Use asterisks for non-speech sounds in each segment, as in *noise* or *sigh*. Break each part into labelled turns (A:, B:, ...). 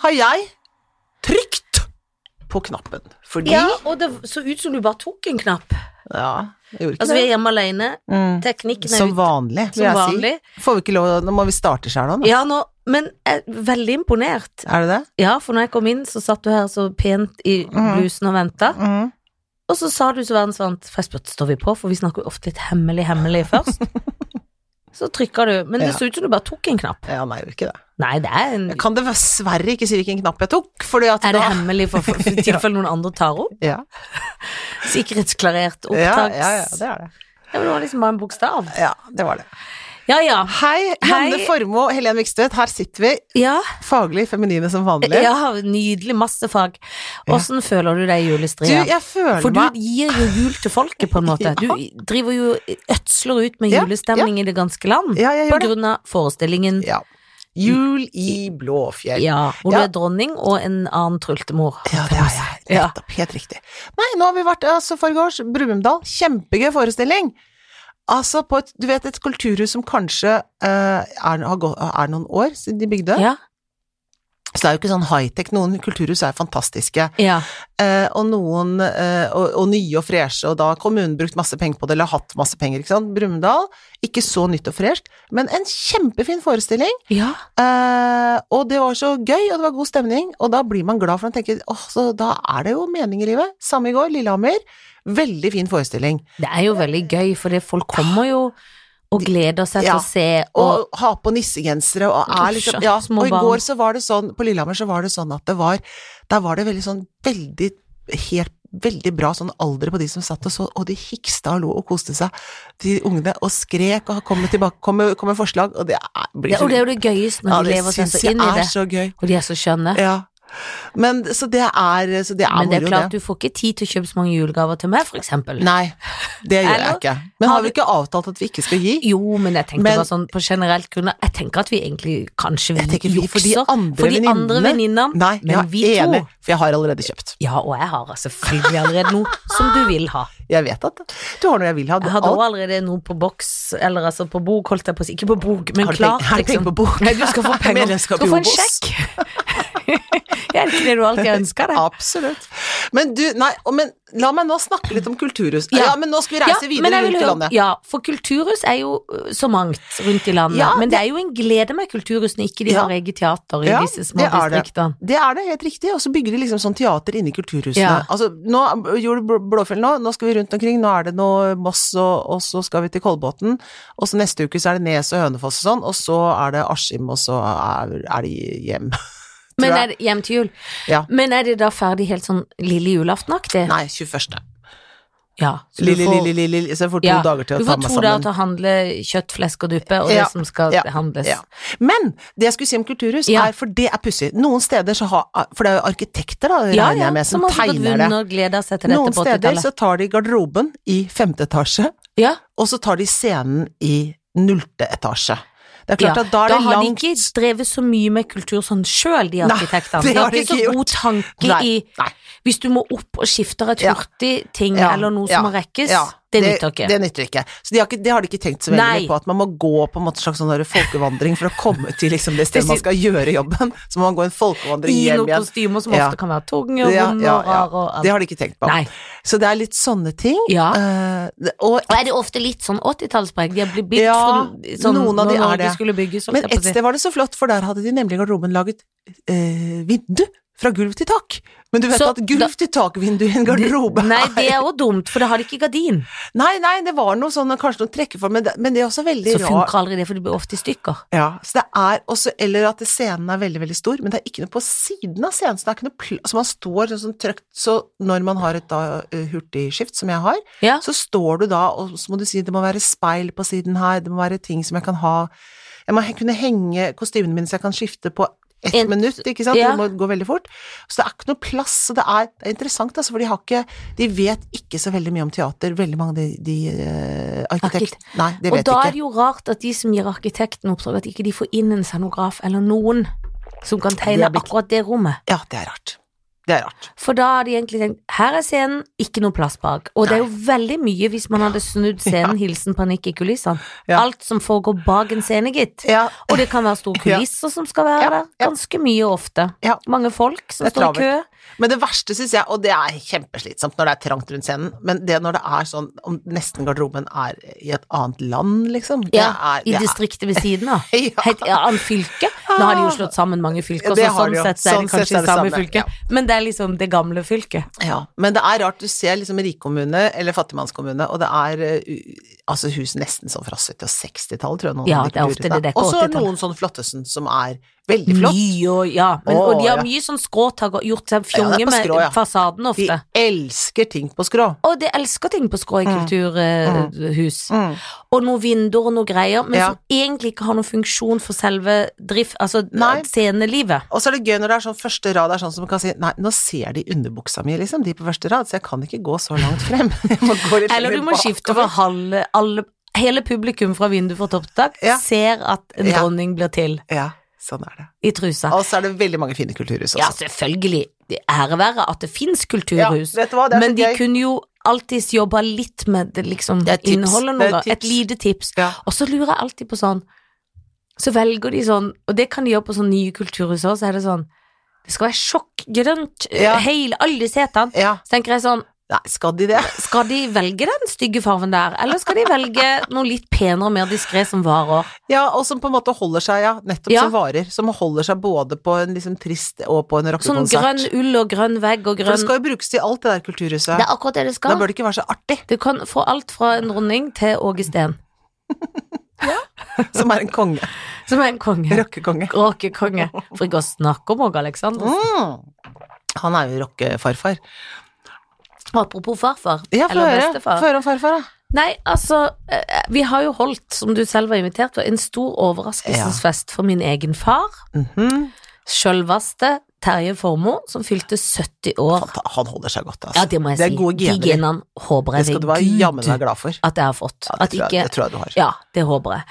A: har jeg trykt på knappen. Fordi
B: Ja,
A: Ja,
B: og det så ut som du bare tok en knapp.
A: jeg gjorde ikke
B: Altså, vi
A: det.
B: er hjemme alene,
A: Mm.
B: teknikken er
A: Som
B: ute.
A: vanlig, vil
B: Som
A: jeg
B: vanlig.
A: si. Får vi ikke lov Nå må vi starte sjøl nå. da.
B: Ja, nå, men jeg er veldig imponert.
A: Er det det?
B: Ja, for når jeg kom inn, så satt du her så pent i
A: Mhm.
B: blusen og venta.
A: Mm.
B: Og så sa du så verdensvant, for jeg spurte, står vi på? For vi snakker jo ofte litt hemmelig, hemmelig
A: *laughs*
B: først. så trykka du, men det
A: Ja.
B: så ut som du bare tok en knapp.
A: Ja, nei, jeg gjorde ikke det.
B: Nei, det er en
A: Jeg kan dessverre ikke si hvilken knapp jeg tok, fordi at
B: Er det
A: da
B: hemmelig
A: *laughs*
B: for, for, for tilfelle noen andre tar opp?
A: ja.
B: Sikkerhetsklarert
A: Ja,
B: opptaks...
A: ja, ja, det er det.
B: Ja, men det var liksom bare en bokstav.
A: Ja, det var det.
B: Ja, ja.
A: Hei, Janne
B: Hei.
A: Formoe, Helen Vikstvedt, her sitter vi,
B: Ja,
A: faglig feminine som vanlig.
B: ja nydelig. Masse fag. Åssen føler du deg i
A: Du,
B: julestria?
A: jeg føler
B: For
A: meg
B: du gir jo jul til folket, på en måte.
A: *laughs* Ja.
B: Du driver jo ødsler ut med
A: Ja,
B: julestemning i det ganske land.
A: Ja, jeg
B: På
A: gjør det.
B: grunn av forestillingen
A: Ja. Jul i Blåfjell.
B: Ja, hvor
A: Ja.
B: du er dronning og en annen trultemor.
A: Ja, det er jeg. Nettopp. Helt riktig. Nei, nå har vi vært altså forgårs. Brumunddal. Kjempegøy forestilling. Altså på et, du vet, et kulturhus som kanskje eh, er, har gå- er noen år siden de bygde.
B: Ja,
A: Så det er jo ikke sånn high-tech. Noen kulturhus er fantastiske,
B: ja.
A: eh, og noen eh, og, og nye og freshe, og da har kommunen brukt masse penger på det, eller hatt masse penger, ikke sant. Brumunddal, ikke så nytt og fresht, men en kjempefin forestilling.
B: ja.
A: Eh, og det var så gøy, og det var god stemning, og da blir man glad for å tenke åh, så da er det jo mening i livet. Samme i går, Lillehammer. Veldig fin forestilling.
B: Det er jo veldig gøy, for folk kommer jo og gleder seg til
A: Ja.
B: å se. Og,
A: Og ha på nissegensere og er liksom
B: Usj,
A: Ja,
B: små
A: og i
B: barn.
A: går så var det sånn, på Lillehammer så var det sånn at det var Der var det veldig sånn veldig helt Veldig bra sånn alder på de som satt og så, og de hiksta og lo og koste seg, de ungene, og skrek og kom med tilbake, kom med, kom med forslag, og det er, blir
B: det, og det er jo det gøyeste når
A: Ja,
B: de
A: det
B: lever seg
A: syns
B: så
A: jeg
B: inn i
A: er
B: det.
A: så gøy.
B: Og de er så skjønne.
A: Ja. Men så det er Så det er
B: Men det er
A: moro,
B: klart, du får ikke tid til å kjøpe så mange julegaver til meg, for eksempel.
A: Nei, det gjør
B: Eller?
A: jeg ikke. Men
B: Har
A: har vi ikke avtalt at vi ikke skal gi?
B: Jo, men jeg tenkte
A: Men-
B: bare sånn på generelt grunnlag. Jeg tenker at vi egentlig kanskje
A: Jeg tenker vi,
B: jukser
A: for de andre
B: for de andre
A: venninnene-
B: venninnene.
A: Nei,
B: Men
A: ja,
B: vi
A: enig,
B: to
A: for jeg har allerede kjøpt.
B: Ja, og jeg har selvfølgelig allerede noe som du vil ha.
A: Jeg vet at du har noe jeg vil ha. Du,
B: Jeg hadde
A: alt-
B: også allerede noe på boks, eller altså på bok, holdt jeg på å si. Ikke på bok, men
A: Har du
B: klart, liksom.
A: penger- har du penger på bok?
B: Nei, du
A: *laughs*
B: skal få penger. Du
A: Medlemskap
B: skal
A: i
B: få en
A: Obos.
B: sjekk. Jeg *laughs* er det ikke det du alltid ønsker deg.
A: Absolutt. Men du, nei, å, men la meg nå snakke litt om kulturhus. Ja,
B: Ja.
A: men nå skal vi reise
B: men
A: videre
B: jeg vil
A: rundt i
B: høre-
A: landet.
B: Ja, for kulturhus er jo ø, så mangt rundt i landet.
A: Ja,
B: men det er jo en glede med kulturhus når ikke de
A: Ja.
B: har eget teater i
A: Ja,
B: disse små
A: det er det.
B: distriktene.
A: Det er det, helt riktig. Og så bygger de liksom sånn teater inni kulturhusene.
B: Ja.
A: Altså, nå gjorde Bl- Blåfjell nå, nå skal vi rundt omkring. Nå er det noe Moss, og, og så skal vi til Kolbotn. Og så neste uke så er det Nes og Hønefoss og sånn, og så er det Askim, og så er, er de hjem. *laughs*
B: Men
A: jeg.
B: er det hjem til jul.
A: Ja.
B: Men er det da ferdig helt sånn lille julaftenaktig?
A: Nei, 21.
B: Ja, så du
A: Lille,
B: får-
A: lille, lille, lille, så jeg får to
B: ja,
A: dager til å
B: du
A: ta
B: får
A: meg
B: to dager
A: sammen.
B: til å handle kjøtt, flesk og duppe, og
A: Ja,
B: det som skal
A: ja,
B: handles.
A: Ja. Men det jeg skulle si om kulturhus,
B: Ja.
A: er, for det er pussig, noen steder så har For det er jo arkitekter, da,
B: Ja,
A: regner
B: ja,
A: jeg med,
B: som
A: som,
B: har sikkert
A: tegner det.
B: vunnet og gleda seg til dette
A: Noen
B: på
A: steder
B: 80-tallet.
A: så tar de garderoben i femte etasje,
B: Ja,
A: og så tar de scenen i nullte etasje. Det er
B: ja.
A: klart at da er det
B: har de
A: langt
B: ikke drevet så mye med kultur sånn sjøl, de
A: Nei,
B: arkitektene.
A: det
B: De
A: har
B: har
A: de
B: ikke
A: ikke
B: så god tanke
A: Nei,
B: i
A: nei.
B: Hvis du må opp og skifter et
A: Ja.
B: hurtig ting
A: Ja,
B: eller noe
A: ja,
B: som må rekkes,
A: ja,
B: det nytter ikke.
A: Det nytter ikke. Så de har ikke, det har de ikke tenkt så veldig
B: Nei.
A: mye på, at man må gå på en måte slags sånn der folkevandring for å komme til liksom det stedet man skal gjøre jobben. Så må man gå en folkevandring
B: I
A: hjem
B: noen
A: igjen.
B: kostymer som
A: Ja.
B: ofte kan være tunge
A: Ja,
B: og
A: ja,
B: vonde og
A: ja.
B: rare og alt.
A: Det har de ikke tenkt på.
B: Nei.
A: Så det er litt sånne ting.
B: Ja.
A: Eh, det- og
B: Og er det ofte litt sånn 80-tallspreg? De har blitt bygd
A: Ja,
B: fra sånn
A: noen av
B: når
A: de er
B: Norge
A: det.
B: skulle bygges. holdt
A: Men
B: jeg på å
A: et
B: si.
A: sted var det så flott, for der hadde de nemlig i garderoben laget eh, vindu fra gulv til tak. Men du vet
B: Så
A: at gulv
B: da-
A: til tak-vindu i en garderobe
B: Nei, det er jo dumt, for da har de ikke gardin.
A: *laughs* Nei, nei, det var noe sånn, kanskje noen trekkeform, men, det- men det er også veldig
B: Så
A: rart.
B: funker aldri det, for det blir ofte i stykker.
A: Ja, så det er også, eller at scenen er veldig, veldig stor, men det er ikke noe på siden av scenen, så det er ikke noe pl så man står sånn, sånn trøkt, så når man har et da, eh, hurtigskift, som jeg har,
B: Ja.
A: så står du da, og så må du si, det må være speil på siden her, det må være ting som jeg kan ha, jeg må he- kunne henge kostymene mine så jeg kan skifte på ett
B: En-
A: minutt, ikke sant,
B: ja.
A: det må gå veldig fort, så det er ikke noe plass, så det er, det er interessant, altså, for de har ikke, de vet ikke så veldig mye om teater, veldig mange av de, de eh, arkitekt,
B: Arkitekt.
A: nei, det
B: Og
A: vet
B: da
A: ikke.
B: er det jo rart at de som gir arkitekten oppdrag, at ikke de får inn en scenograf eller noen som kan
A: Det
B: tegne
A: er blitt-
B: akkurat det rommet.
A: Ja, det er rart. Det er rart.
B: For da hadde de egentlig tenkt her er scenen, ikke noe plass bak. Og det er jo veldig mye hvis man hadde
A: *laughs*
B: snudd scenen, hilsen panikk i kulissene.
A: Ja.
B: Alt som foregår bak en scene, gitt.
A: Ja,
B: Og det kan være store
A: Ja.
B: kulisser som skal være
A: Ja,
B: der.
A: ja.
B: Ganske mye og ofte.
A: Ja.
B: Mange folk som
A: Det er
B: står i kø.
A: Men det verste, syns jeg, og det er kjempeslitsomt når det er trangt rundt scenen, men det når det er sånn om nesten garderoben er i et annet land, liksom det
B: Ja,
A: er,
B: I
A: det er-
B: distriktet ved siden av.
A: *laughs* Ja.
B: Et annet fylke. Nå har de jo slått sammen mange fylker,
A: Det
B: så
A: har
B: sånn
A: de jo.
B: sett så er
A: Sånn
B: det kanskje
A: sett er
B: det
A: det
B: samme
A: samme, ja.
B: fylket. Men det er liksom det gamle fylket.
A: Ja, men det er rart. Du ser liksom rikkommune eller fattigmannskommune, og det er eh, u- altså hus nesten sånn fra 70- og 60-tallet, tror jeg. noen
B: Ja,
A: hadde
B: det er
A: kuret
B: ofte det, det er ikke
A: Og så
B: 80-tallet.
A: noen sånn Flottesen som er veldig flott.
B: Mye og ja. Men, og
A: Å,
B: de har
A: ja.
B: mye sånn skråtak og gjort seg
A: Ja,
B: fjonge
A: det er på
B: med
A: skrå, ja.
B: fasaden
A: De
B: ofte.
A: elsker ting på skrå.
B: Og de elsker ting på skrå i
A: Mm.
B: kulturhus.
A: Mm.
B: Og noen vinduer og noen greier, men
A: Ja.
B: som egentlig ikke har noen funksjon for selve drift, altså
A: Nei.
B: scenelivet.
A: Og så er det gøy når det er sånn første rad det er sånn som man kan si Nei, nå ser de underbuksa mi, liksom, de på første rad, så jeg kan ikke gå så langt frem. *laughs* Jeg må gå litt
B: Eller du må
A: lenger bakover.
B: skifte for halve, alle, hele publikum fra vindu fra topp til tak
A: Ja.
B: ser at en
A: Ja.
B: dronning blir til
A: Ja, sånn er det.
B: i trusa.
A: Og så er det veldig mange fine kulturhus
B: Ja,
A: også.
B: selvfølgelig. Det ære være at det fins kulturhus,
A: Ja, vet du hva, det er
B: men
A: så
B: de
A: gøy.
B: kunne jo alltids jobba litt med det, liksom,
A: Det er tips. Det
B: innholdet noen
A: er
B: ganger. Et
A: tips.
B: lite tips.
A: Ja.
B: Og så lurer jeg alltid på sånn Så velger de sånn, og det kan de gjøre på sånne nye kulturhus òg, så er det sånn Det skal være eh, sjokkgrønt,
A: Ja.
B: hele, alle setene.
A: Ja.
B: Så tenker jeg sånn
A: Nei, skal de det?
B: Skal de velge den stygge farven der, eller skal de velge noe litt penere og mer diskré som varer?
A: Ja, og som på en måte holder seg, ja, nettopp
B: Ja.
A: som varer. Som holder seg både på en liksom trist og på en
B: Sånn
A: rockekonsert.
B: grønn ull og grønn vegg
A: For
B: og
A: det
B: grønn
A: skal jo brukes til alt det der kulturhuset.
B: Det er akkurat det det
A: Da
B: skal.
A: bør det ikke være så artig,
B: Du kan få alt fra en dronning til Åge Steen,
A: som er en
B: *laughs*
A: konge.
B: som er en konge.
A: Rockekonge.
B: Råkekonge. For ikke å snakke om Åge Aleksandersen.
A: Mm. Han er jo rockefarfar.
B: Apropos farfar,
A: Ja, få
B: eller
A: høre. Få
B: bestefar.
A: høre om farfar, da.
B: Nei, altså, eh, vi har jo holdt, som du selv var invitert til, en stor overraskelsesfest for min egen far.
A: Mhm.
B: Sjølveste Terje Formoe, som fylte 70 år.
A: Fanta- Han holder seg godt, altså.
B: Ja, det må jeg
A: Det er
B: si.
A: gode
B: De
A: gener.
B: genene
A: Det
B: håper jeg
A: skal du være
B: ved
A: jammen meg
B: Gud
A: glad for.
B: at jeg har fått.
A: Ja, det,
B: At
A: tror jeg,
B: ikke
A: det tror jeg du har.
B: Ja, det håper jeg.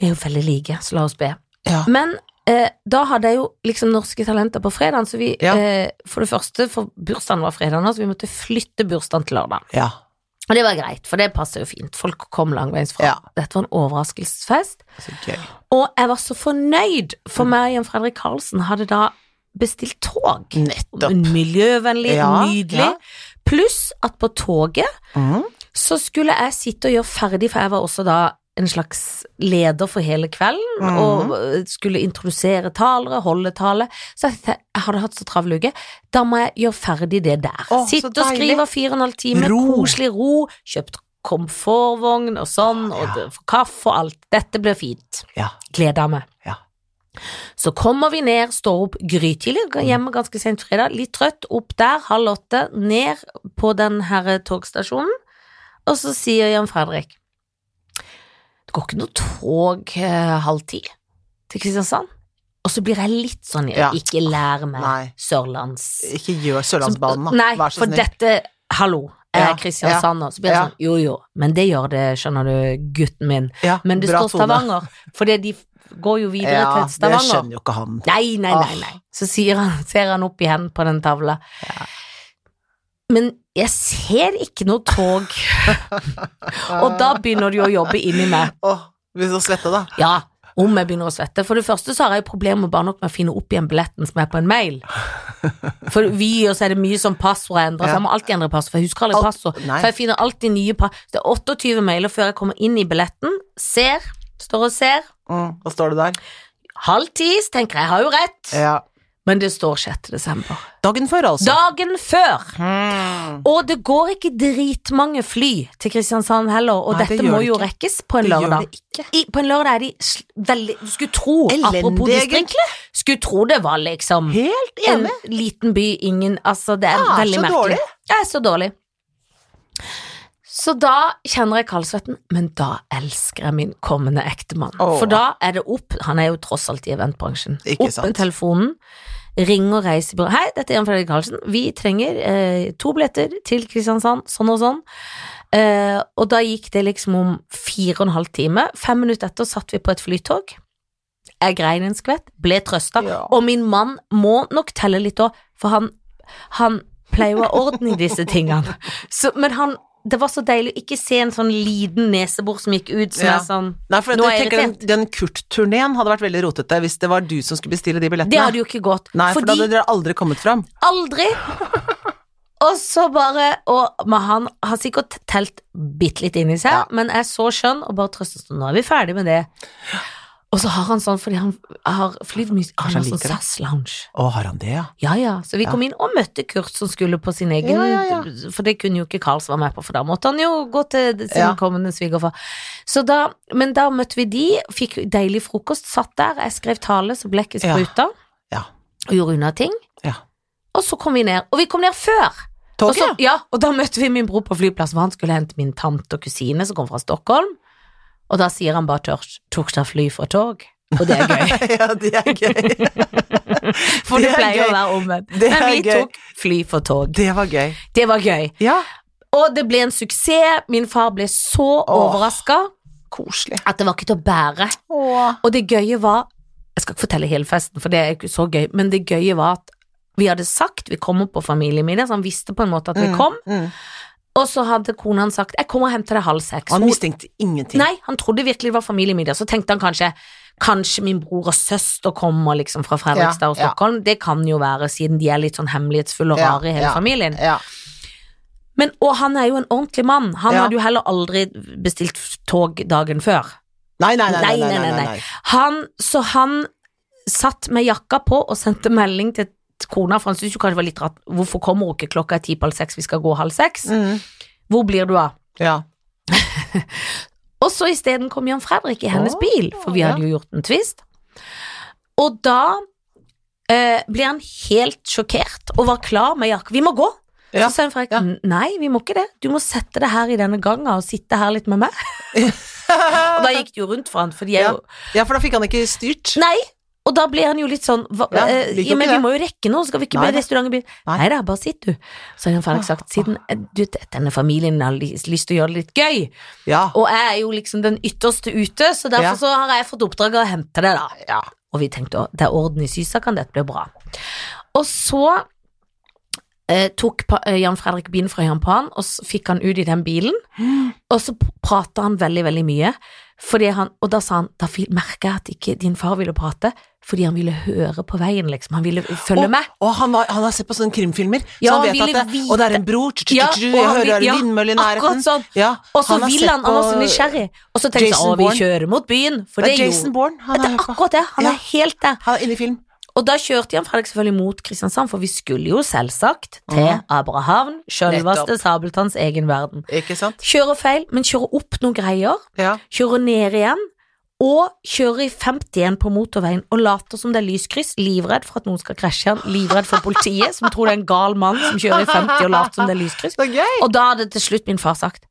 B: Vi er jo veldig like, så la oss be.
A: Ja.
B: Men eh, da hadde jeg jo liksom Norske Talenter på fredagen, så vi
A: Ja.
B: eh, For det første, for bursdagen var fredagen, så vi måtte flytte bursdagen til lørdag.
A: Ja.
B: Og det var greit, for det passer jo fint. Folk kom langveis fra.
A: Ja.
B: Dette var en overraskelsesfest.
A: Så gøy.
B: Og jeg var så fornøyd,
A: Mm.
B: for meg og Jan Fredrik Karlsen hadde da bestilt tog.
A: Nettopp.
B: Miljøvennlig,
A: Ja,
B: nydelig.
A: ja.
B: Pluss at på toget
A: Mhm.
B: så skulle jeg sitte og gjøre ferdig, for jeg var også da en slags leder for hele kvelden,
A: Mhm.
B: og øh, skulle introdusere talere, holde tale. Så jeg, tenkte, jeg hadde hatt så travel uke, da må jeg gjøre ferdig det der.
A: Å, så
B: Sitte og
A: deilig.
B: skrive fire og en halv time,
A: Ro.
B: koselig ro, kjøpt komfortvogn og sånn, og
A: Ja.
B: d- kaffe og alt. Dette blir fint.
A: Ja.
B: Gleder meg.
A: Ja.
B: Så kommer vi ned, står opp grytidlig,
A: Mm.
B: går hjemme ganske sent fredag, litt trøtt, opp der, halv åtte, ned på den her eh, togstasjonen, og så sier Jan Fredrik Det går ikke noe tog eh, halv ti til Kristiansand. Og så blir jeg litt sånn
A: Ja.
B: Ikke lær
A: Nei.
B: meg sørlands...
A: Ikke gjør Sørlandsbanen, da.
B: Nei,
A: Vær så
B: for
A: snill.
B: dette, hallo, jeg
A: Ja,
B: er Kristiansand nå. Så blir det
A: ja.
B: sånn, jo jo, men det gjør det, skjønner du, gutten min.
A: Ja,
B: Men det
A: bra
B: står
A: tone.
B: Stavanger, fordi de f- går jo videre
A: Ja,
B: til
A: det
B: Stavanger.
A: skjønner Ah. jo ikke han.
B: Nei, nei, nei,
A: Åh.
B: nei. Så sier han, ser han opp igjen på den tavla. Men jeg ser ikke noe tog, og da begynner det jo å jobbe inni
A: *laughs*
B: meg.
A: Åh, begynner å svette, da.
B: Ja, om jeg begynner å svette. For det første så har jeg problemer bare nok med å finne opp igjen billetten som er på en mail. For vi, og så er det mye sånn passord jeg endrer, så jeg må alltid endre passord, for jeg husker aldri
A: Alt-
B: passord.
A: nei.
B: For jeg finner alltid nye passord. Det er 28 mailer før jeg kommer inn i billetten. Ser, står og ser.
A: Mm, da står du der.
B: Halv ti, så tenker jeg, jeg har jo rett.
A: Ja.
B: Men det står 6. desember.
A: Dagen før, altså.
B: Dagen før!
A: Mm.
B: Og det går ikke dritmange fly til Kristiansand heller, og
A: Nei, det
B: dette
A: gjør
B: må
A: det
B: jo
A: ikke.
B: rekkes på en
A: Det gjør
B: lørdag.
A: det
B: I, på en lørdag er de sl- veldig Du skulle tro,
A: Elendig,
B: apropos
A: egentlig.
B: distriktet, skulle tro det var liksom
A: Helt
B: en
A: enig.
B: liten by, ingen Altså, det er,
A: Ja,
B: veldig
A: så
B: merkelig.
A: dårlig.
B: Det er så dårlig. Så da kjenner jeg kaldsvetten, men da elsker jeg min kommende ektemann.
A: Åh.
B: For da er det opp Han er jo tross alt i eventbransjen.
A: Ikke
B: opp
A: sant.
B: med telefonen, ring og reis i byrået. Hei, dette er Jan Fredrik Karlsen. Vi trenger eh, to billetter til Kristiansand, sånn og sånn. Eh, og da gikk det liksom om fire og en halv time. Fem minutter etter satt vi på et flytog. Jeg grein en skvett, ble trøsta.
A: Ja.
B: Og min mann må nok telle litt òg, for han Han pleier å ha orden i disse tingene. Så, men han Det var så deilig å ikke se en sånn liten nesebor som gikk ut, som
A: Ja.
B: er sånn
A: Nei, for
B: Nå er
A: jeg
B: jeg
A: tenker den, den Kurt-turneen hadde vært veldig rotete hvis det var du som skulle bestille de billettene.
B: Det hadde jo ikke gått.
A: Nei, for da
B: fordi
A: hadde dere aldri kommet fram. *laughs*
B: Aldri! Og så bare Og men han har sikkert telt bitte litt inni seg,
A: Ja.
B: men er så skjønn og bare trøstes nå er vi ferdig med det. Og så har han sånn, fordi han har flydd mye Han
A: Kanskje
B: har
A: han
B: sånn
A: liker det.
B: SAS-lounge.
A: Å, har han det, ja?
B: Ja, ja. Så vi
A: Ja.
B: kom inn og møtte Kurt, som skulle på sin egen
A: Ja, ja,
B: For det kunne jo ikke Karls være med på, for da måtte han jo gå til sin
A: Ja.
B: kommende svigerfar. Så da, men da møtte vi de, fikk deilig frokost, satt der, jeg skrev tale, så blekket
A: Ja.
B: spruta,
A: Ja.
B: og gjorde unna ting.
A: Ja.
B: Og så kom vi ned. Og vi kom ned før! Og, så,
A: Toget,
B: ja, og da møtte vi min bror på flyplassen, for han skulle hente min tante og kusine som kom fra Stockholm. Og da sier han bare tørt 'Torsdag fly fra tog'. Og det er gøy,
A: *laughs* ja. ja, det er gøy.
B: for
A: Det
B: det,
A: er
B: pleier
A: gøy.
B: å være omvendt.
A: Det
B: Men
A: er
B: vi
A: gøy.
B: tok fly fra
A: *laughs*
B: tog.
A: Det var gøy.
B: Det var gøy.
A: Ja,
B: Og det ble en suksess. Min far ble så overraska
A: koselig.
B: at det var ikke til å bære. Og det gøye var Jeg skal ikke fortelle hele festen, for det er ikke så gøy, men det gøye var at vi hadde sagt vi kommer på familiemiddag, så han visste på en måte at vi
A: Mm,
B: kom.
A: mm.
B: Og så hadde kona hans sagt 'jeg kommer og henter deg halv seks'.
A: Han
B: Hun-
A: mistenkte ingenting.
B: Nei, han trodde virkelig det var familiemiddag. Så tenkte han kanskje Kanskje min bror og søster kommer liksom fra Fredrikstad
A: Ja,
B: og
A: ja.
B: Stockholm. Det kan jo være, siden de er litt sånn hemmelighetsfulle og
A: Ja,
B: rare i hele
A: ja.
B: familien.
A: Ja.
B: Men, og han er jo en ordentlig mann. Han
A: Ja.
B: hadde jo heller aldri bestilt tog dagen før.
A: Nei, nei, nei, nei, nei, nei, nei,
B: Han, så han satt med jakka på og sendte melding til kona, for han syntes jo kanskje det var litt rart. Hvorfor kommer hun ikke klokka er ti på halv seks, vi skal gå halv seks?
A: Mm.
B: Hvor blir du av?
A: Ja.
B: Og så isteden kom Jan Fredrik i hennes
A: Åh,
B: bil, for vi
A: ja.
B: hadde jo gjort en twist. Og da eh, blir han helt sjokkert og var klar med jakka. Vi må gå!
A: Ja.
B: Så sa Jan Fredrik
A: Ja.
B: nei, vi må ikke det. Du må sette deg her i denne ganga og sitte her litt med meg. *laughs* Og da gikk det jo rundt for han, for de er
A: Ja.
B: jo
A: ja, for da fikk han ikke styrt.
B: Nei! Og da blir han jo litt sånn hva,
A: Ja,
B: eh,
A: liker
B: ja, Men
A: ikke
B: vi
A: det.
B: må jo rekke nå, skal vi ikke
A: Nei
B: bli
A: da.
B: restaurantbil?
A: Nei.
B: Nei da, bare sitt, du. Så har Jan Fredrik sagt, siden eh, du, vet, denne familien har ly- lyst til å gjøre det litt gøy,
A: Ja.
B: og jeg er jo liksom den ytterste ute, så derfor
A: Ja.
B: så har jeg fått oppdrag å hente det, da.
A: Ja.
B: Og vi tenkte at det er orden i sysaken, dette blir bra. Og så eh, tok pa, eh, Jan Fredrik bilen fra Jan Pan, og så fikk han ut i den bilen. Og så p- prata han veldig, veldig mye. Fordi han, og da sa han Da fi- merker jeg at ikke din far ville prate, fordi han ville høre på veien, liksom. Han ville følge med.
A: Og, og han, har, han har sett på sånne krimfilmer, så
B: Ja,
A: han
B: han
A: vet
B: ville
A: at det,
B: vite-
A: Og det er en bror, tju, tju,
B: Ja,
A: tju,
B: og
A: jeg
B: han vil-
A: hører det er
B: ja,
A: en vindmølle i
B: Akkurat
A: nærheten.
B: sånn.
A: Ja,
B: Og så
A: har
B: vil
A: sett
B: han,
A: på-
B: han var så nysgjerrig. Og så tenkte
A: Jason
B: han å, vi
A: Bourne.
B: kjører mot byen. For
A: Det
B: det,
A: er Jason
B: gjorde
A: Bourne. Han
B: det
A: er,
B: er akkurat det. Han
A: Ja.
B: er helt der.
A: han er inne i film.
B: Og da kjørte Jan Fredrik selvfølgelig mot Kristiansand, for vi skulle jo selvsagt til
A: Mhm.
B: Abrahavn, sjølveste
A: Nettopp.
B: Sabeltanns egen verden.
A: Ikke sant?
B: Kjører feil, men kjører opp noen greier,
A: Ja.
B: kjører ned igjen, og kjører i 51 på motorveien og later som det er lyskryss, livredd for at noen skal krasje han, livredd for politiet, som tror det er en gal mann som kjører i 50 og later som det er lyskryss.
A: Så gøy!
B: Og da hadde til slutt min far sagt,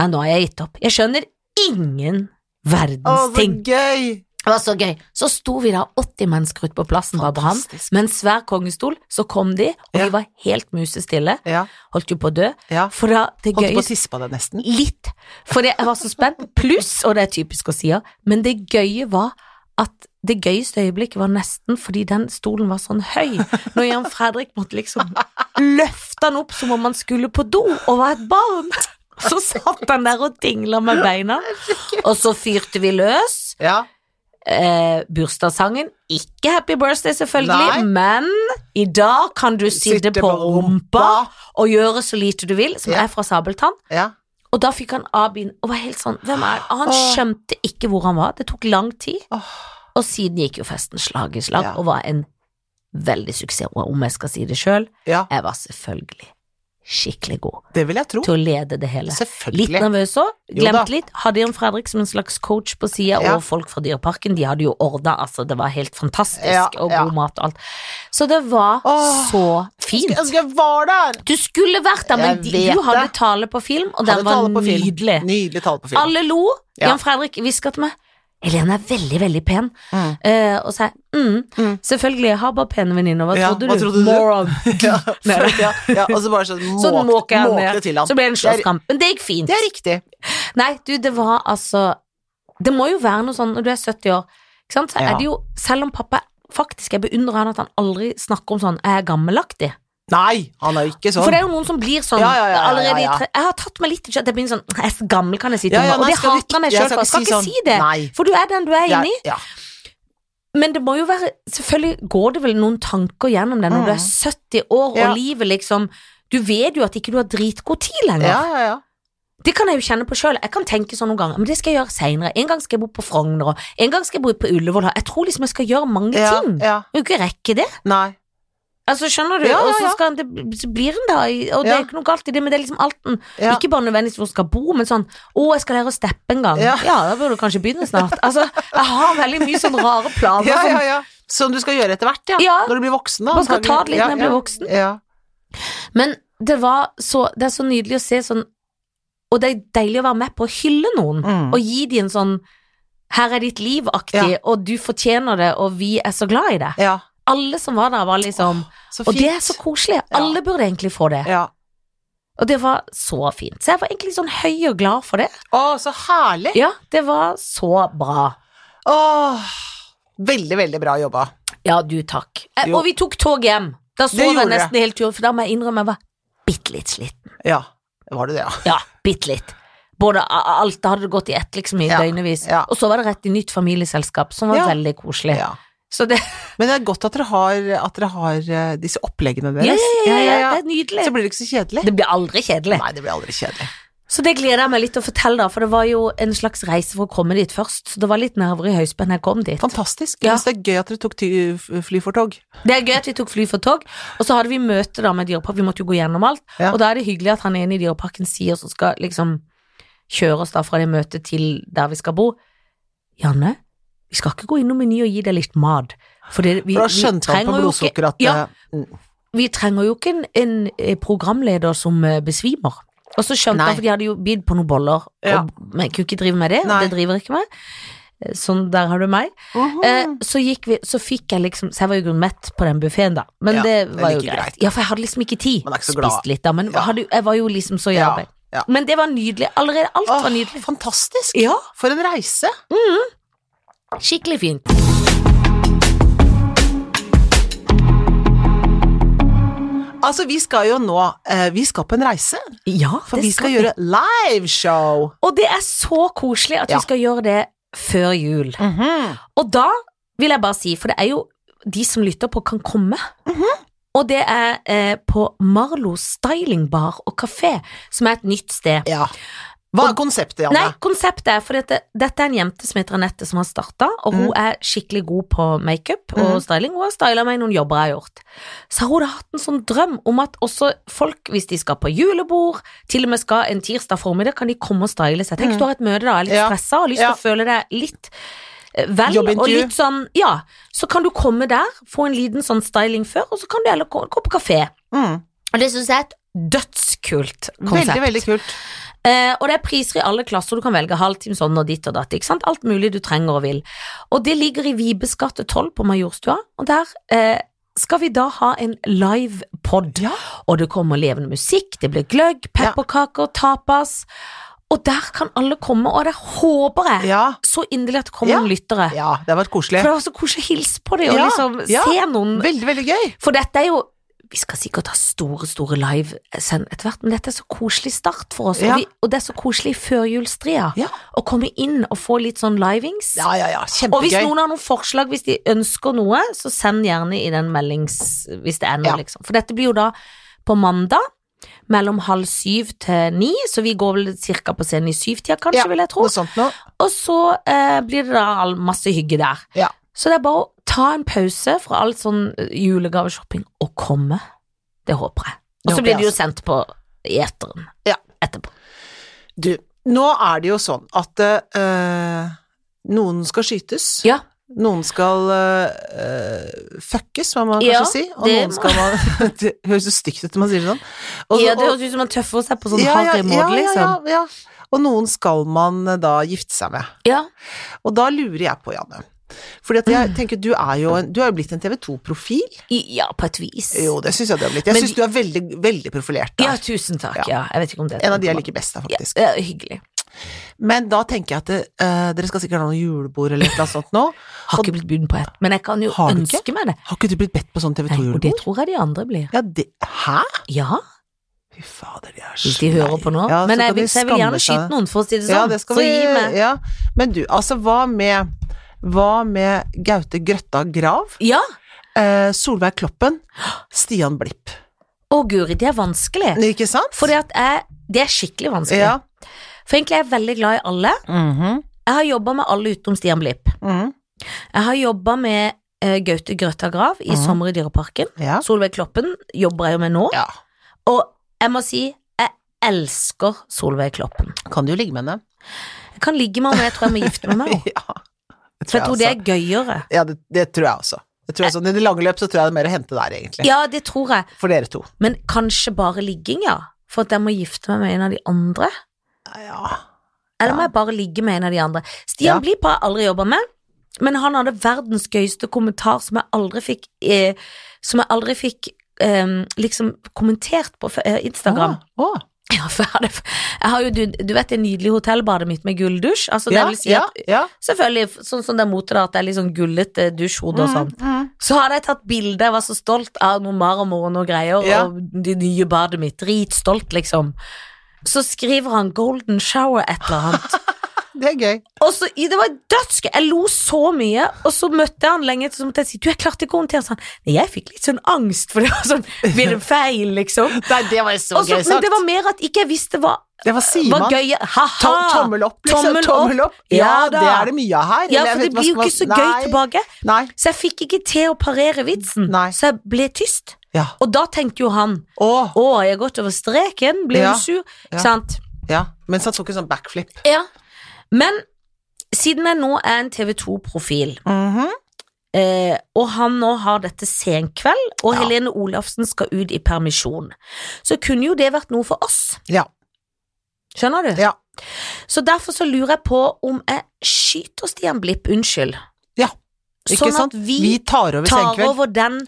B: nei, nå har jeg gitt opp. Jeg skjønner ingen
A: Å, så
B: verdens ting.
A: gøy!
B: Det var så gøy. Så sto vi da 80 mennesker ute på plassen bak ham,
A: Fantastisk.
B: med en svær kongestol. Så kom de, og
A: Ja.
B: vi var helt musestille.
A: Ja.
B: Holdt jo på å dø.
A: ja.
B: For da, det
A: Holdt på å
B: gøyeste
A: tisse på deg nesten.
B: Litt. For det- jeg var så spent. Pluss, og det er typisk å si, ja, men det gøye var at det gøyeste øyeblikket var nesten fordi den stolen var sånn høy. Når Jan Fredrik måtte liksom løfte han opp som om han skulle på do og var et barn. Så satt han der og dingla med beina. Og så fyrte vi løs
A: Ja.
B: eh, bursdagssangen. Ikke Happy Birthday,
A: Nei.
B: selvfølgelig, men i dag kan du sitte,
A: Sitte
B: på
A: på
B: rumpa
A: rumpa.
B: og gjøre så lite du vil, som
A: Ja.
B: er fra Sabeltann.
A: Ja.
B: Og da fikk han av bilen og var helt sånn Hvem er han? Han
A: Åh.
B: skjønte ikke hvor han var. Det tok lang tid.
A: Åh.
B: Og siden gikk jo festen slag i slag
A: Ja.
B: og var en veldig suksess. Og om jeg skal si det sjøl,
A: ja.
B: jeg var selvfølgelig skikkelig god
A: Det vil jeg tro.
B: til å lede det hele. Litt
A: Selvfølgelig.
B: nervøs òg.
A: Jo da.
B: Glemt litt. Hadde Jan Fredrik som en slags coach på sida,
A: Ja.
B: og folk fra Dyreparken. De hadde jo ordna, altså. Det var helt fantastisk,
A: Ja,
B: og
A: ja.
B: god mat og alt. Så det var
A: Åh.
B: så
A: Jeg
B: fint.
A: ønsker jeg var der!
B: Du skulle vært der, men
A: Jeg
B: de,
A: vet
B: du hadde
A: det.
B: tale på film, og
A: Hadde
B: den var
A: tale på film.
B: nydelig.
A: Nydelig tale på film.
B: Alle lo.
A: Ja.
B: Jan Fredrik hviska til meg. Helene er veldig, veldig pen.
A: Mm.
B: Eh, og sa jeg, mm,
A: Mm.
B: selvfølgelig, jeg har bare pene venninner. Hva,
A: Ja,
B: trodde
A: hva
B: du?
A: trodde du? *laughs*
B: Moron.
A: Ja,
B: Nei, nei.
A: ja, ja, og så bare
B: *laughs*
A: sånn
B: Så
A: måkte-
B: måker jeg
A: måkte
B: ned.
A: til han.
B: Så ble det en
A: er-
B: slåsskamp. Men det gikk fint.
A: Det er riktig.
B: Nei, du, det var altså Det må jo være noe sånn når du er 70 år, ikke sant? så
A: Ja.
B: er det jo Selv om pappa faktisk Jeg beundrer han at han aldri snakker om sånn Jeg er gammelaktig.
A: Nei, han er jo ikke sånn.
B: For det er jo noen som blir sånn
A: Ja, ja, ja, ja,
B: allerede i
A: ja, ja.
B: tre... Jeg har tatt meg litt i kjøtt. Jeg blir sånn Jeg er så gammel, kan jeg si til
A: Ja, ja,
B: meg. Og
A: nei,
B: det
A: skal du ikke-
B: hater jeg meg
A: jeg
B: sjøl for. Jeg skal ikke si det.
A: Nei.
B: For du er den du er
A: Det er-
B: inni.
A: Ja.
B: Men det må jo være Selvfølgelig går det vel noen tanker gjennom det når
A: Mm.
B: du er 70 år
A: Ja.
B: og livet liksom Du vet jo at ikke du har dritgod tid lenger.
A: ja, ja, ja.
B: Det kan jeg jo kjenne på sjøl. Jeg kan tenke sånn noen ganger. Men det skal jeg gjøre seinere. En gang skal jeg bo på Frogner, og en gang skal jeg bo på Ullevål. Jeg tror liksom jeg skal gjøre mange
A: ja,
B: ting.
A: ja.
B: Jeg vil ikke rekke det.
A: Nei.
B: Altså Skjønner du?
A: Ja, ja,
B: Og så
A: ja.
B: skal en- det, så blir en da i- Og det
A: Ja.
B: er ikke noe galt i det, men det er liksom alt en
A: Ja.
B: Ikke bare nødvendigvis hvor en skal bo, men sånn Å, jeg skal lære å steppe en gang. Ja,
A: Ja.
B: da burde du kanskje begynne snart. Altså, jeg har veldig mye sånn rare planer.
A: *laughs* Ja,
B: som-
A: ja, ja. Som du skal gjøre etter hvert, ja.
B: Ja.
A: Når du blir voksen, da.
B: Bare skal ta det litt
A: antagelig.
B: når jeg blir voksen.
A: Ja.
B: Men det var så Det er så nydelig å se sånn Og det er deilig å være med på å hylle noen
A: Mm.
B: Og gi dem en sånn Her er ditt liv-aktig Og du fortjener det Og vi er så glad i det
A: ja. ja.
B: Alle som var der var liksom
A: Så
B: Og det er så koselig Alle burde egentlig få det
A: Ja.
B: Og det var så fint Så jeg var egentlig sånn høy og glad for det
A: Å, så herlig!
B: Ja, det var så bra
A: Åh, veldig, veldig bra jobba.
B: Ja, du takk Eh,
A: Jo.
B: Og vi tok tog hjem Da sov
A: gjorde
B: jeg nesten hele turen For da må jeg innrømme Jeg var bittelitt slitt
A: Ja, var det det, ja.
B: Ja, bitte litt. Både, a- alt det hadde gått i ett liksom i
A: Ja,
B: døgnevis.
A: ja.
B: Og så var det rett i nytt familieselskap, som var
A: Ja.
B: veldig koselig.
A: ja.
B: Så det,
A: Men det er godt at dere har, at dere har eh, disse oppleggene deres.
B: ja, ja, ja, ja,
A: Ja, ja.
B: det er nydelig.
A: Så blir det ikke så kjedelig.
B: Det blir aldri kjedelig.
A: Nei, det blir aldri kjedelig.
B: Så det gleder jeg meg litt til å fortelle, da, for det var jo en slags reise for å komme dit først. Så det var litt nerver i høyspenn da jeg kom dit.
A: Fantastisk.
B: Ja.
A: Jeg synes det er gøy at dere tok ty fly for tog.
B: Det er gøy at vi tok fly for tog, og så hadde vi møte da med Dyrepark, vi måtte jo gå gjennom alt.
A: Ja.
B: Og da er det hyggelig at han ene i Dyreparken sier, som skal liksom kjøre oss da fra det møtet til der vi skal bo, Janne, vi skal ikke gå innom meny og gi deg litt mat. For, det, vi,
A: For da
B: vi
A: skjønte han på
B: trenger jo ikke-
A: blodsukker at
B: ja,
A: eh, mm,
B: vi trenger jo ikke en, en eh, programleder som eh, besvimer. Og så skjønte
A: Nei.
B: han, for de hadde jo bidd på noen boller,
A: Ja.
B: og men jeg kunne ikke drive med det,
A: Nei.
B: og det driver jeg ikke med. Eh, Sånn, der har du meg. Eh, så, gikk vi, så fikk jeg liksom Så jeg var jo i grunnen mett på den buffeen, da. Men
A: Ja,
B: det
A: det er
B: var jo
A: like
B: greit.
A: greit.
B: Ja, for jeg hadde liksom ikke tid.
A: Man er ikke så glad.
B: Spist litt, da, men
A: Ja.
B: hadde, jeg var jo liksom så i
A: Ja,
B: arbeid.
A: ja.
B: Men det var nydelig. Allerede alt
A: Åh,
B: var nydelig.
A: fantastisk!
B: Ja,
A: For en reise!
B: skikkelig fint.
A: Altså, vi skal jo nå eh, Vi skal på en reise,
B: Ja,
A: for vi skal gjøre liveshow.
B: Og det er så koselig at
A: Ja.
B: vi skal gjøre det før jul. Og da vil jeg bare si, for det er jo de som lytter på, kan komme.
A: Mhm.
B: Og det er eh, på Marlo Styling Bar og Café, som er et nytt sted.
A: Ja. Hva er konseptet, Janne?
B: Nei, konseptet er, for dette, dette er en jente som heter Anette som har starta, og hun
A: Mm.
B: er skikkelig god på makeup og
A: Mhm.
B: styling. Hun har styla meg i noen jobber jeg har gjort. Så har hun da hatt en sånn drøm om at også folk, hvis de skal på julebord, til og med skal en tirsdag formiddag, kan de komme og style seg. Tenk,
A: Mhm.
B: du har et møte da, er litt
A: Ja.
B: stressa, har lyst til
A: Ja.
B: å føle deg litt eh, vel, og
A: Jobbintervju.
B: litt sånn, ja. Så kan du komme der, få en liten sånn styling før, og så kan du heller gå, gå på kafé.
A: Mm.
B: Og det syns jeg er et dødskult konsept.
A: Veldig, veldig kult.
B: Eh, og det er priser i alle klasser, du kan velge halvtime sånn og ditt og datt. Ikke sant? Alt mulig du trenger og vil. Og det ligger i Vibes gate 12 på Majorstua, og der eh, skal vi da ha en live pod.
A: Ja.
B: Og det kommer levende musikk, det blir gløgg, pepperkaker, tapas. Og der kan alle komme, og der håper jeg
A: Ja,
B: så inderlig at det kommer
A: Ja.
B: noen lyttere.
A: ja det har vært koselig.
B: For det var så koselig å hilse på dem og
A: Ja,
B: liksom
A: ja.
B: se noen.
A: Veldig, veldig gøy.
B: For dette er jo Vi skal sikkert ha store, store livesend etter hvert, men dette er så koselig start for oss.
A: Ja.
B: Og, vi, og det er så koselig i førjulstria
A: Ja.
B: å komme inn og få litt sånn livings.
A: Ja, ja, ja.
B: og hvis
A: Kjempegøy.
B: noen har noen forslag, hvis de ønsker noe, så send gjerne i den meldings... Hvis det er
A: Ja.
B: noe, liksom. For dette blir jo da på mandag. Mellom halv syv til ni, så vi går vel cirka på scenen i syvtida, kanskje,
A: Ja,
B: vil jeg tro.
A: Noe sånt noe.
B: Og så eh, blir det da all- masse hygge der.
A: Ja.
B: Så det er bare å ta en pause fra all sånn eh, julegaveshopping og komme. Det håper jeg.
A: Det
B: Og så
A: håper
B: blir
A: jeg
B: det jo
A: også.
B: sendt på i eteren
A: Ja.
B: etterpå.
A: Du, nå er det jo sånn at eh, noen skal skytes.
B: Ja.
A: Noen skal eh, fuckes, må man kanskje
B: Ja,
A: si. Og
B: det
A: noen
B: må-
A: skal man *laughs* Det høres så stygt ut når man sier det sånn. Og-
B: ja, det
A: og-
B: høres ut som man tøffer seg på sånn
A: ja, ja,
B: harry måte,
A: ja, ja,
B: liksom.
A: ja, ja. Og noen skal man eh, da gifte seg med.
B: Ja.
A: Og da lurer jeg på, Janne. Fordi at jeg tenker, du er jo, en, du er jo blitt en TV 2-profil.
B: I, ja, på et vis.
A: Jo, det syns jeg du har blitt. Jeg
B: Men
A: syns du er veldig, veldig profilert.
B: Ja,
A: Der.
B: tusen takk.
A: Ja.
B: Ja. Jeg vet ikke om det
A: En av de jeg liker best, da,
B: Ja,
A: faktisk.
B: det er hyggelig.
A: Men da tenker jeg at det, eh, dere skal sikkert ha noe julebord eller et eller annet sånt nå.
B: Har ikke blitt buden på ett, men jeg kan jo
A: Har du ikke?
B: ønske meg det.
A: Har ikke du blitt bedt på sånn TV
B: Nei, og det
A: 2-julebord?
B: tror jeg de andre blir.
A: Ja, det Hæ?
B: Ja,
A: Fy fader, de er så
B: hvis de hører på nå.
A: Ja, så
B: men jeg
A: kan de
B: vil, så jeg vil
A: skamme
B: gjerne
A: seg.
B: skyte noen, for å si det sånn.
A: Ja, det skal
B: så
A: vi
B: gi meg.
A: Ja. Men du, altså hva med Hva med Gaute Grøtta Grav,
B: Ja!
A: eh, Solveig Kloppen, Stian Blipp?
B: Å, guri, det er vanskelig.
A: Ikke sant?
B: For det, at jeg, det er skikkelig vanskelig.
A: Ja.
B: For egentlig er jeg veldig glad i alle.
A: Mhm.
B: Jeg har jobba med alle utenom Stian Blipp.
A: Mhm.
B: Jeg har jobba med eh, Gaute Grøtta Grav i
A: Mhm.
B: Sommer i Dyreparken.
A: Ja.
B: Solveig Kloppen jobber jeg jo med nå.
A: ja.
B: Og jeg må si, jeg elsker Solveig Kloppen.
A: Kan du jo ligge med henne?
B: Jeg kan ligge med henne, men jeg tror jeg må gifte meg med henne.
A: *laughs* Ja. Det altså.
B: For jeg tror det er gøyere.
A: Ja, det, det tror jeg også. Jeg tror også. I det lange løp så tror jeg det er mer å hente der, egentlig.
B: Ja, det tror jeg.
A: For dere to.
B: Men kanskje bare ligging, ja. For at jeg må gifte meg med en av de andre.
A: Ja.
B: Eller
A: Ja.
B: må jeg bare ligge med en av de andre? Stian
A: Ja.
B: Blipp har jeg aldri jobba med, men han hadde verdens gøyeste kommentar som jeg aldri fikk eh, Som jeg aldri fikk eh, liksom kommentert på f- eh, Instagram.
A: Å, å.
B: *laughs* Ja, for jeg, hadde, jeg har jo, du, du vet det nydelige hotellbadet mitt med gulldusj? Altså, det
A: Ja,
B: vil si
A: ja,
B: at
A: ja.
B: Selvfølgelig, sånn som det er mote, da, at det er litt sånn gullete dusjhode og sånn.
A: Mhm.
B: Så hadde jeg tatt bilde, jeg var så stolt av noe marmor og noe greier,
A: Ja.
B: og det nye badet mitt, dritstolt, liksom. Så skriver han 'golden shower' et eller annet.
A: Det er gøy.
B: Og så, i- det var dødsgøy, jeg lo så mye, og så møtte jeg han lenge etter, så måtte jeg si 'du, jeg klarte ikke å håndtere sånn'. Nei, jeg fikk litt sånn angst, for det var sånn, blir det feil,
A: *laughs*
B: liksom?
A: Nei, det var så
B: Og så, men det var mer at ikke jeg visste hva
A: Det var
B: var
A: Simon.
B: gøy.
A: To
B: Ha-ha!
A: tommel opp, liksom.
B: Tommel
A: Tommel
B: opp.
A: opp.
B: Ja
A: Ja,
B: da.
A: det er det mye av her.
B: Ja,
A: Eller jeg
B: for
A: vet
B: det
A: hva
B: blir jo
A: skal man-
B: ikke så gøy
A: Nei,
B: tilbake.
A: Nei.
B: Så jeg fikk ikke til å parere vitsen,
A: Nei.
B: så jeg ble tyst.
A: Ja.
B: Og da tenkte jo han
A: Å,
B: Å, jeg har gått over streken, ble
A: Ja,
B: hun sur?
A: ja.
B: Sant?
A: ja. Mens han tok en sånn backflip.
B: Ja. Men siden jeg nå er en TV 2-profil,
A: Mhm.
B: eh, og han nå har dette senkveld, og
A: Ja.
B: Helene Olafsen skal ut i permisjon, så kunne jo det vært noe for oss.
A: Ja.
B: Skjønner du?
A: Ja.
B: Så derfor så lurer jeg på om jeg skyter Stian Blipp, unnskyld.
A: Ja, Ikke
B: sånn
A: sant?
B: at vi,
A: Vi tar over
B: tar
A: senkveld.
B: over den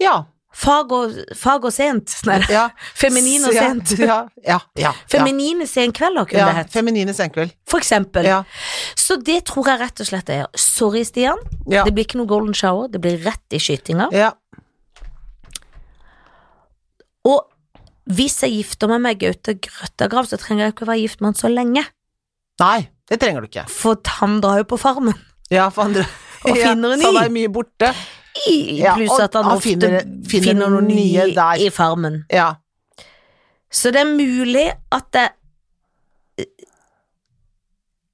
A: Ja.
B: fag og, fag og sent. *laughs* Nei,
A: ja.
B: feminin og
A: Ja, *laughs*
B: sent.
A: Ja. ja, ja, ja.
B: Feminine senkvelder kunne det
A: ja.
B: hett.
A: Feminine senkveld.
B: For eksempel.
A: Ja.
B: Så det tror jeg rett og slett er. Sorry, Stian.
A: Ja.
B: Det blir ikke noe golden shower. Det blir rett i skytinga.
A: ja.
B: Og hvis jeg gifter meg med Gaute Grøttagrav, så trenger jeg ikke å være gift med han så lenge.
A: Nei, det trenger du ikke.
B: For han drar jo på farmen.
A: Ja, for andre
B: Og finner en
A: Så
B: ny.
A: han er mye borte.
B: I,
A: Ja,
B: pluss
A: og
B: at han,
A: han
B: ofte finner,
A: finner- finner noen nye
B: ny
A: der.
B: i farmen.
A: Ja.
B: Så det er mulig at det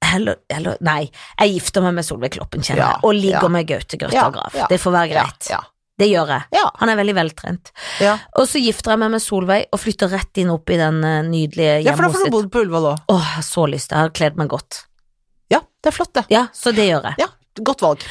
B: eller, eller, nei, jeg gifter meg med Solveig Kloppen, kjenner
A: Ja,
B: jeg, og ligger
A: ja.
B: med Gaute Grøttagrav.
A: Ja, ja,
B: det får være greit.
A: Ja.
B: Det gjør jeg.
A: Ja.
B: Han er veldig veltrent.
A: Ja.
B: Og så gifter jeg meg med Solveig og flytter rett inn opp i den eh, nydelige
A: ja. ja, for da
B: hjemmet
A: får du
B: sitt.
A: bodd på Ullevål òg.
B: Åh, jeg har så lyst, jeg har kledd meg godt.
A: Ja, det er flott, det.
B: Ja, så det gjør jeg.
A: Ja, Godt valg.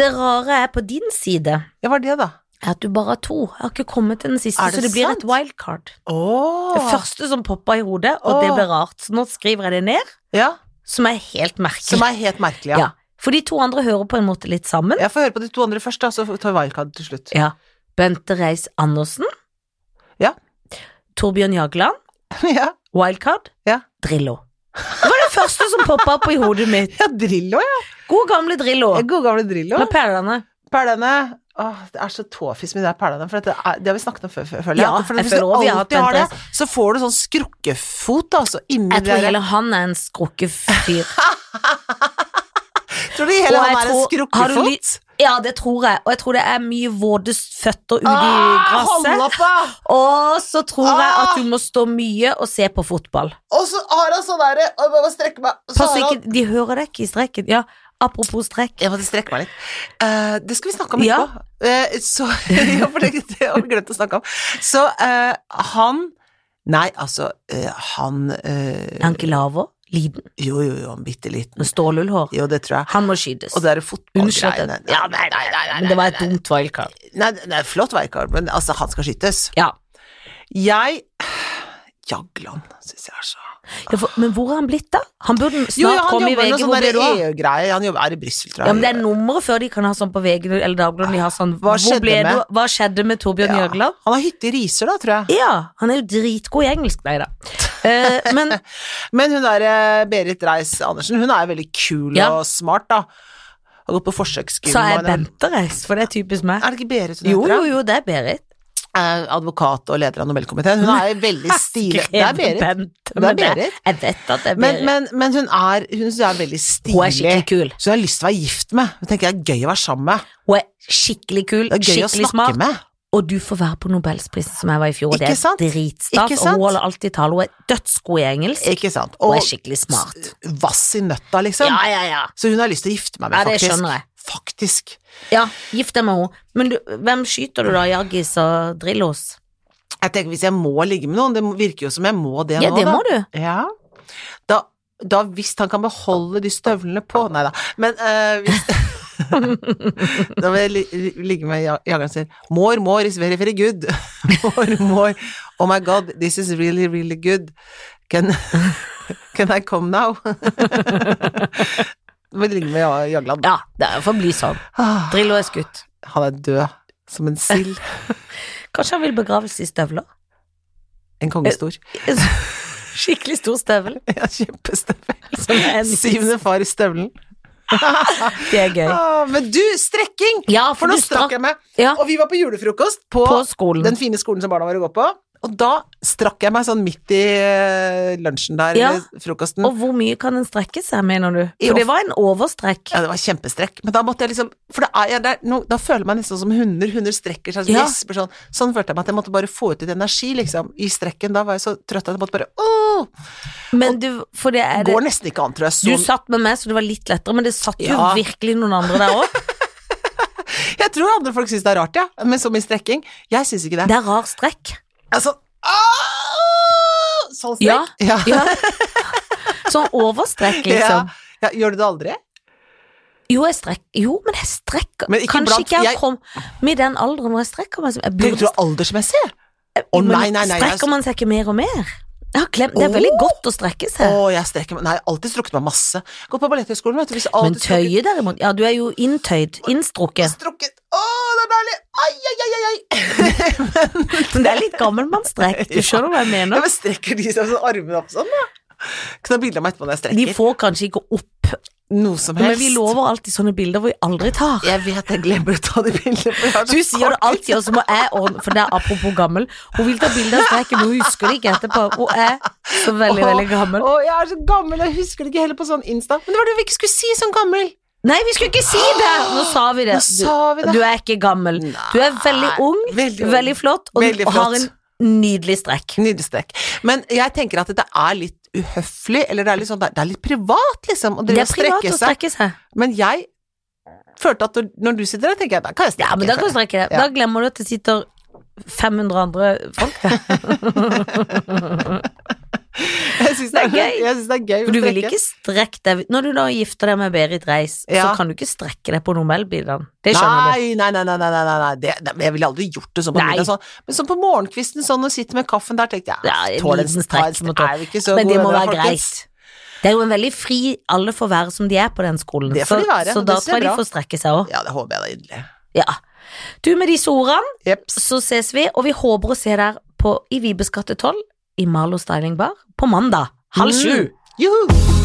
B: Det rare er på din side
A: Ja, hva er det, da?
B: er at du bare har to. Jeg har ikke kommet til den siste,
A: Er det
B: så det blir
A: sant?
B: et wildcard. Det
A: Åh.
B: første som poppa i hodet, og
A: Åh.
B: det ble rart. Så nå skriver jeg det ned,
A: Ja,
B: som er helt merkelig.
A: som er helt merkelig,
B: ja.
A: ja.
B: For de to andre hører på en måte litt sammen.
A: Jeg får høre på de to andre først, da, så tar vi wildcard til slutt.
B: Ja. Bente Reiss Andersen.
A: Ja.
B: Torbjørn Jagland.
A: *laughs* Ja,
B: Wildcard.
A: Ja.
B: Drillo. Det var det første som poppa opp i hodet mitt.
A: ja Drillo, ja.
B: God gamle Drillo.
A: ja. God gamle Drillo.
B: Med perlene.
A: Perlene. Åh, det er så tåfis med de der perlene, for dette er, det har vi snakket om før, før- føler
B: Ja,
A: At for
B: jeg
A: hvis du
B: føler også vi har hatt
A: alltid har det,
B: Bente
A: så får du sånn skrukkefot, altså, inni
B: Jeg tror
A: der.
B: heller han er en skrukkefyr.
A: Tror du hele
B: Og jeg
A: han er en
B: tror- har du
A: skrukkefot?
B: Ja, det tror jeg. Og jeg tror det er mye våte føtter ute i
A: Ah, hold
B: gresset.
A: opp, da!
B: Og så tror jeg
A: Ah!
B: at du må stå mye og se på fotball.
A: Og så har han sånn derre Og jeg må bare strekke meg. Så
B: Pass
A: har han-
B: ikke, de hører deg ikke i streken. Ja, apropos strekk.
A: Jeg måtte strekke meg litt. Eh, det skal vi snakke om
B: Ja.
A: etterpå. Eh, så *laughs* Ja, for det, det har vi glemt å snakke om. Så eh, han Nei, altså, eh, han eh,
B: Er han ikke laver? Liten?
A: Jo, jo, jo, han bitte liten.
B: Med Stålullhår?
A: Jo, det tror jeg.
B: Han må skytes.
A: Og det er
B: Unnskyld at jeg-
A: fotballgreiene. Ja, nei, nei, nei, nei,
B: Men det var et dumt wildcard.
A: nei, nei, nei, flott veikar, men altså, han skal skytes.
B: Ja.
A: Jeg Jagland syns jeg er så
B: Ja, for, men hvor er han blitt, da? Han burde snart
A: Jo, ja, han
B: komme i
A: jobber med
B: VG.
A: noe
B: Hvor
A: sånn
B: blir
A: der
B: du av?
A: EU-greie. Han jobber, er i Brussel, tror jeg.
B: Ja, men det er nummeret før de kan ha sånn på VG eller Dagbladet. De har sånn
A: Hva skjedde
B: hvor ble
A: med-
B: du, Hva skjedde med Torbjørn
A: Ja.
B: Jøgland?
A: Han har hytte i Riser, da, tror jeg.
B: Ja, han er jo dritgod i engelsk, nei da.
A: *laughs*
B: Eh, men
A: Men hun der eh, Berit Reiss-Andersen, hun er jo veldig kul
B: Ja.
A: og smart, da. Har gått på forsøksgym.
B: sa
A: og
B: jeg
A: en-
B: Bente Reiss, for det er typisk meg.
A: Er det ikke Berit hun
B: Jo,
A: heter?
B: jo,
A: da?
B: jo, det er Berit.
A: Er Advokat og leder av Nobelkomiteen. Hun er veldig stilig. Det er Berit.
B: Bente,
A: Det er
B: men
A: Berit.
B: Jeg vet at det er
A: Men,
B: Berit.
A: men, men hun er, hun er veldig stilig.
B: Hun er skikkelig kul.
A: Så hun har lyst til å være gift med. Hun tenker det er gøy å være sammen med.
B: Hun er skikkelig kul,
A: Det er gøy å
B: skikkelig
A: snakke
B: smart.
A: med.
B: Og du får være på Nobelsprisen som jeg var i fjor, og det
A: Ikke
B: er
A: sant? Ikke
B: dritstas. Og
A: sant?
B: hun holder alltid tale, hun er dødsgod i engelsk,
A: Ikke sant.
B: og
A: Og
B: er skikkelig smart.
A: vass i nøtta, liksom.
B: Ja, ja, ja.
A: Så hun har lyst til å gifte meg med,
B: Ja, det
A: faktisk.
B: skjønner jeg.
A: Faktisk.
B: Ja, gift deg med henne. Men du, hvem skyter du da, Jagis og Drillos?
A: Jeg tenker hvis jeg må ligge med noen, det virker jo som jeg må det
B: Ja,
A: nå,
B: det
A: da.
B: må du.
A: Ja. Da, da hvis han kan beholde de støvlene på Nei da, men eh, hvis *laughs* Da vil jeg li- li- ligge med ja- jageren sin. More, more is very, very good. *laughs* More, more. Oh my god, this is really, really good. Can, *laughs* can I come now? *laughs* Du må ligge med ja- Jagland.
B: Ja, det får bli sånn.
A: Ah,
B: Drillo er skutt.
A: Han er død som en sild.
B: Kanskje han vil begraves i støvler?
A: En kongestor.
B: Skikkelig stor støvel.
A: *laughs* Ja, Kjempestøvel.
B: Som er en-
A: Syvende far i støvelen.
B: Det er gøy.
A: Ah, men du, strekking!
B: Ja,
A: For
B: for
A: nå
B: du
A: strakk
B: strakk
A: jeg meg.
B: Ja,
A: Og vi var på julefrokost på,
B: på skolen.
A: den fine skolen som barna våre går på. Og da strakk jeg meg sånn midt i eh, lunsjen der,
B: Ja.
A: eller frokosten.
B: Og hvor mye kan den strekke seg, mener du?
A: Jo.
B: For det var en overstrekk.
A: Ja, det var kjempestrekk. Men da måtte jeg liksom For det er, ja, det er no, da føler jeg meg nesten som hunder. Hunder strekker seg,
B: Ja.
A: gjesper sånn. Sånn følte jeg meg at jeg måtte bare få ut litt energi, liksom. I strekken. Da var jeg så trøtt at jeg måtte bare Åh!
B: Men du, for det er det
A: Går nesten ikke an, tror jeg.
B: Du
A: Sånn.
B: satt med meg, så det var litt lettere, men det satt jo
A: Ja.
B: virkelig noen andre der
A: *laughs*
B: òg.
A: Jeg tror andre folk syns det er rart, ja. Men så mye strekking. Jeg syns ikke det.
B: Det er rar strekk.
A: Altså Åh! Sånn
B: Ja.
A: strekk. Ja.
B: Ja. Sånn overstrekk, liksom.
A: *laughs* Ja. Ja, gjør du det aldri?
B: Jo, jeg strekk, jo, men jeg strekker
A: Men ikke
B: Kanskje
A: blant-
B: ikke jeg,
A: jeg-
B: kom med i den alderen hvor jeg strekker meg. som- Jeg
A: Du
B: burde,
A: tror aldersmessig? Å
B: Eh, men
A: nei, nei, nei. jeg-
B: strekker man seg ikke mer og mer? Jeg har glemt, det er veldig godt å strekke
A: Å,
B: seg.
A: jeg strekker meg Nei, jeg har alltid strukket meg masse. Gått på Balletthøgskolen, vet du. Hvis jeg
B: Men
A: alltid
B: tøye derimot Ja, du er jo inntøyd.
A: *laughs*
B: Innstrukket.
A: Strukket. Å, det er deilig! Ai, ai, ai, ai, ai!
B: Men det er litt gammelmannsstrekk. Du skjønner hva jeg
A: *laughs* Ja,
B: mener?
A: men strekker de seg sånn armene opp sånn, da? Kan ta bilde av meg etterpå når jeg
B: De
A: strekker.
B: får kanskje ikke opp,
A: Noe som helst.
B: men vi lover alltid sånne bilder hvor vi aldri tar.
A: Jeg vet jeg glemmer å ta de bildene. for jeg har så
B: Du sier det
A: kort-
B: alltid, og så må jeg ordne For det er apropos gammel. Hun vil ta bilde av streken, men hun husker det ikke etterpå. Hun er så veldig, veldig gammel.
A: Å, jeg er så gammel, jeg husker det ikke heller på sånn Insta. Men det var det vi ikke skulle si, sånn gammel.
B: Nei, vi skulle ikke si det! Nå sa vi det.
A: Nå sa vi det.
B: Du, du er ikke gammel. Du er veldig ung,
A: Veldig ung.
B: veldig flott, og,
A: Veldig
B: og har
A: flott.
B: en nydelig strekk.
A: Nydelig strekk. Men jeg tenker at det er litt uhøflig, eller det er litt sånn Det er litt privat, liksom, å
B: Det
A: drive
B: er
A: og strekke
B: privat å
A: seg.
B: strekke seg.
A: Men jeg følte at når- når du sitter der, tenker jeg da kan jeg strekke.
B: Ja, men da kan du strekke deg.
A: Ja.
B: Da glemmer du at det sitter 500 andre
A: *laughs*
B: folk der.
A: *laughs* Jeg syns
B: Det er gøy.
A: Jeg synes det er gøy
B: For
A: å
B: du vil
A: strekke.
B: ikke strekke deg Når du da gifter deg med Berit Reiss, så
A: Ja.
B: kan du ikke strekke deg på Nobelbilene. Det skjønner du.
A: Nei, nei, nei, nei, nei, nei, nei. Det, det, jeg ville aldri gjort det sånn på
B: Nei.
A: middag. Sånn. Men sånn på morgenkvisten, sånn og sitter med kaffen der, tenkte jeg
B: Ja, en
A: tåler
B: liten
A: ta en-
B: strekk må tå-
A: Er vi ikke så
B: Men det
A: gode
B: må
A: venner,
B: være
A: folkens?
B: greit. Det er jo en veldig fri Alle får være som de er på den skolen.
A: Det får de være,
B: så, så
A: og
B: da
A: det ser
B: tror jeg de
A: bra.
B: får strekke seg òg.
A: Ja, det håper jeg da inderlig.
B: Ja. Du, med disse ordene
A: Jeps.
B: så ses vi, og vi håper å se deg på, i Vibes gate 12 i Marlo Styling Bar på mandag halv sju.
A: Mm. Juhu!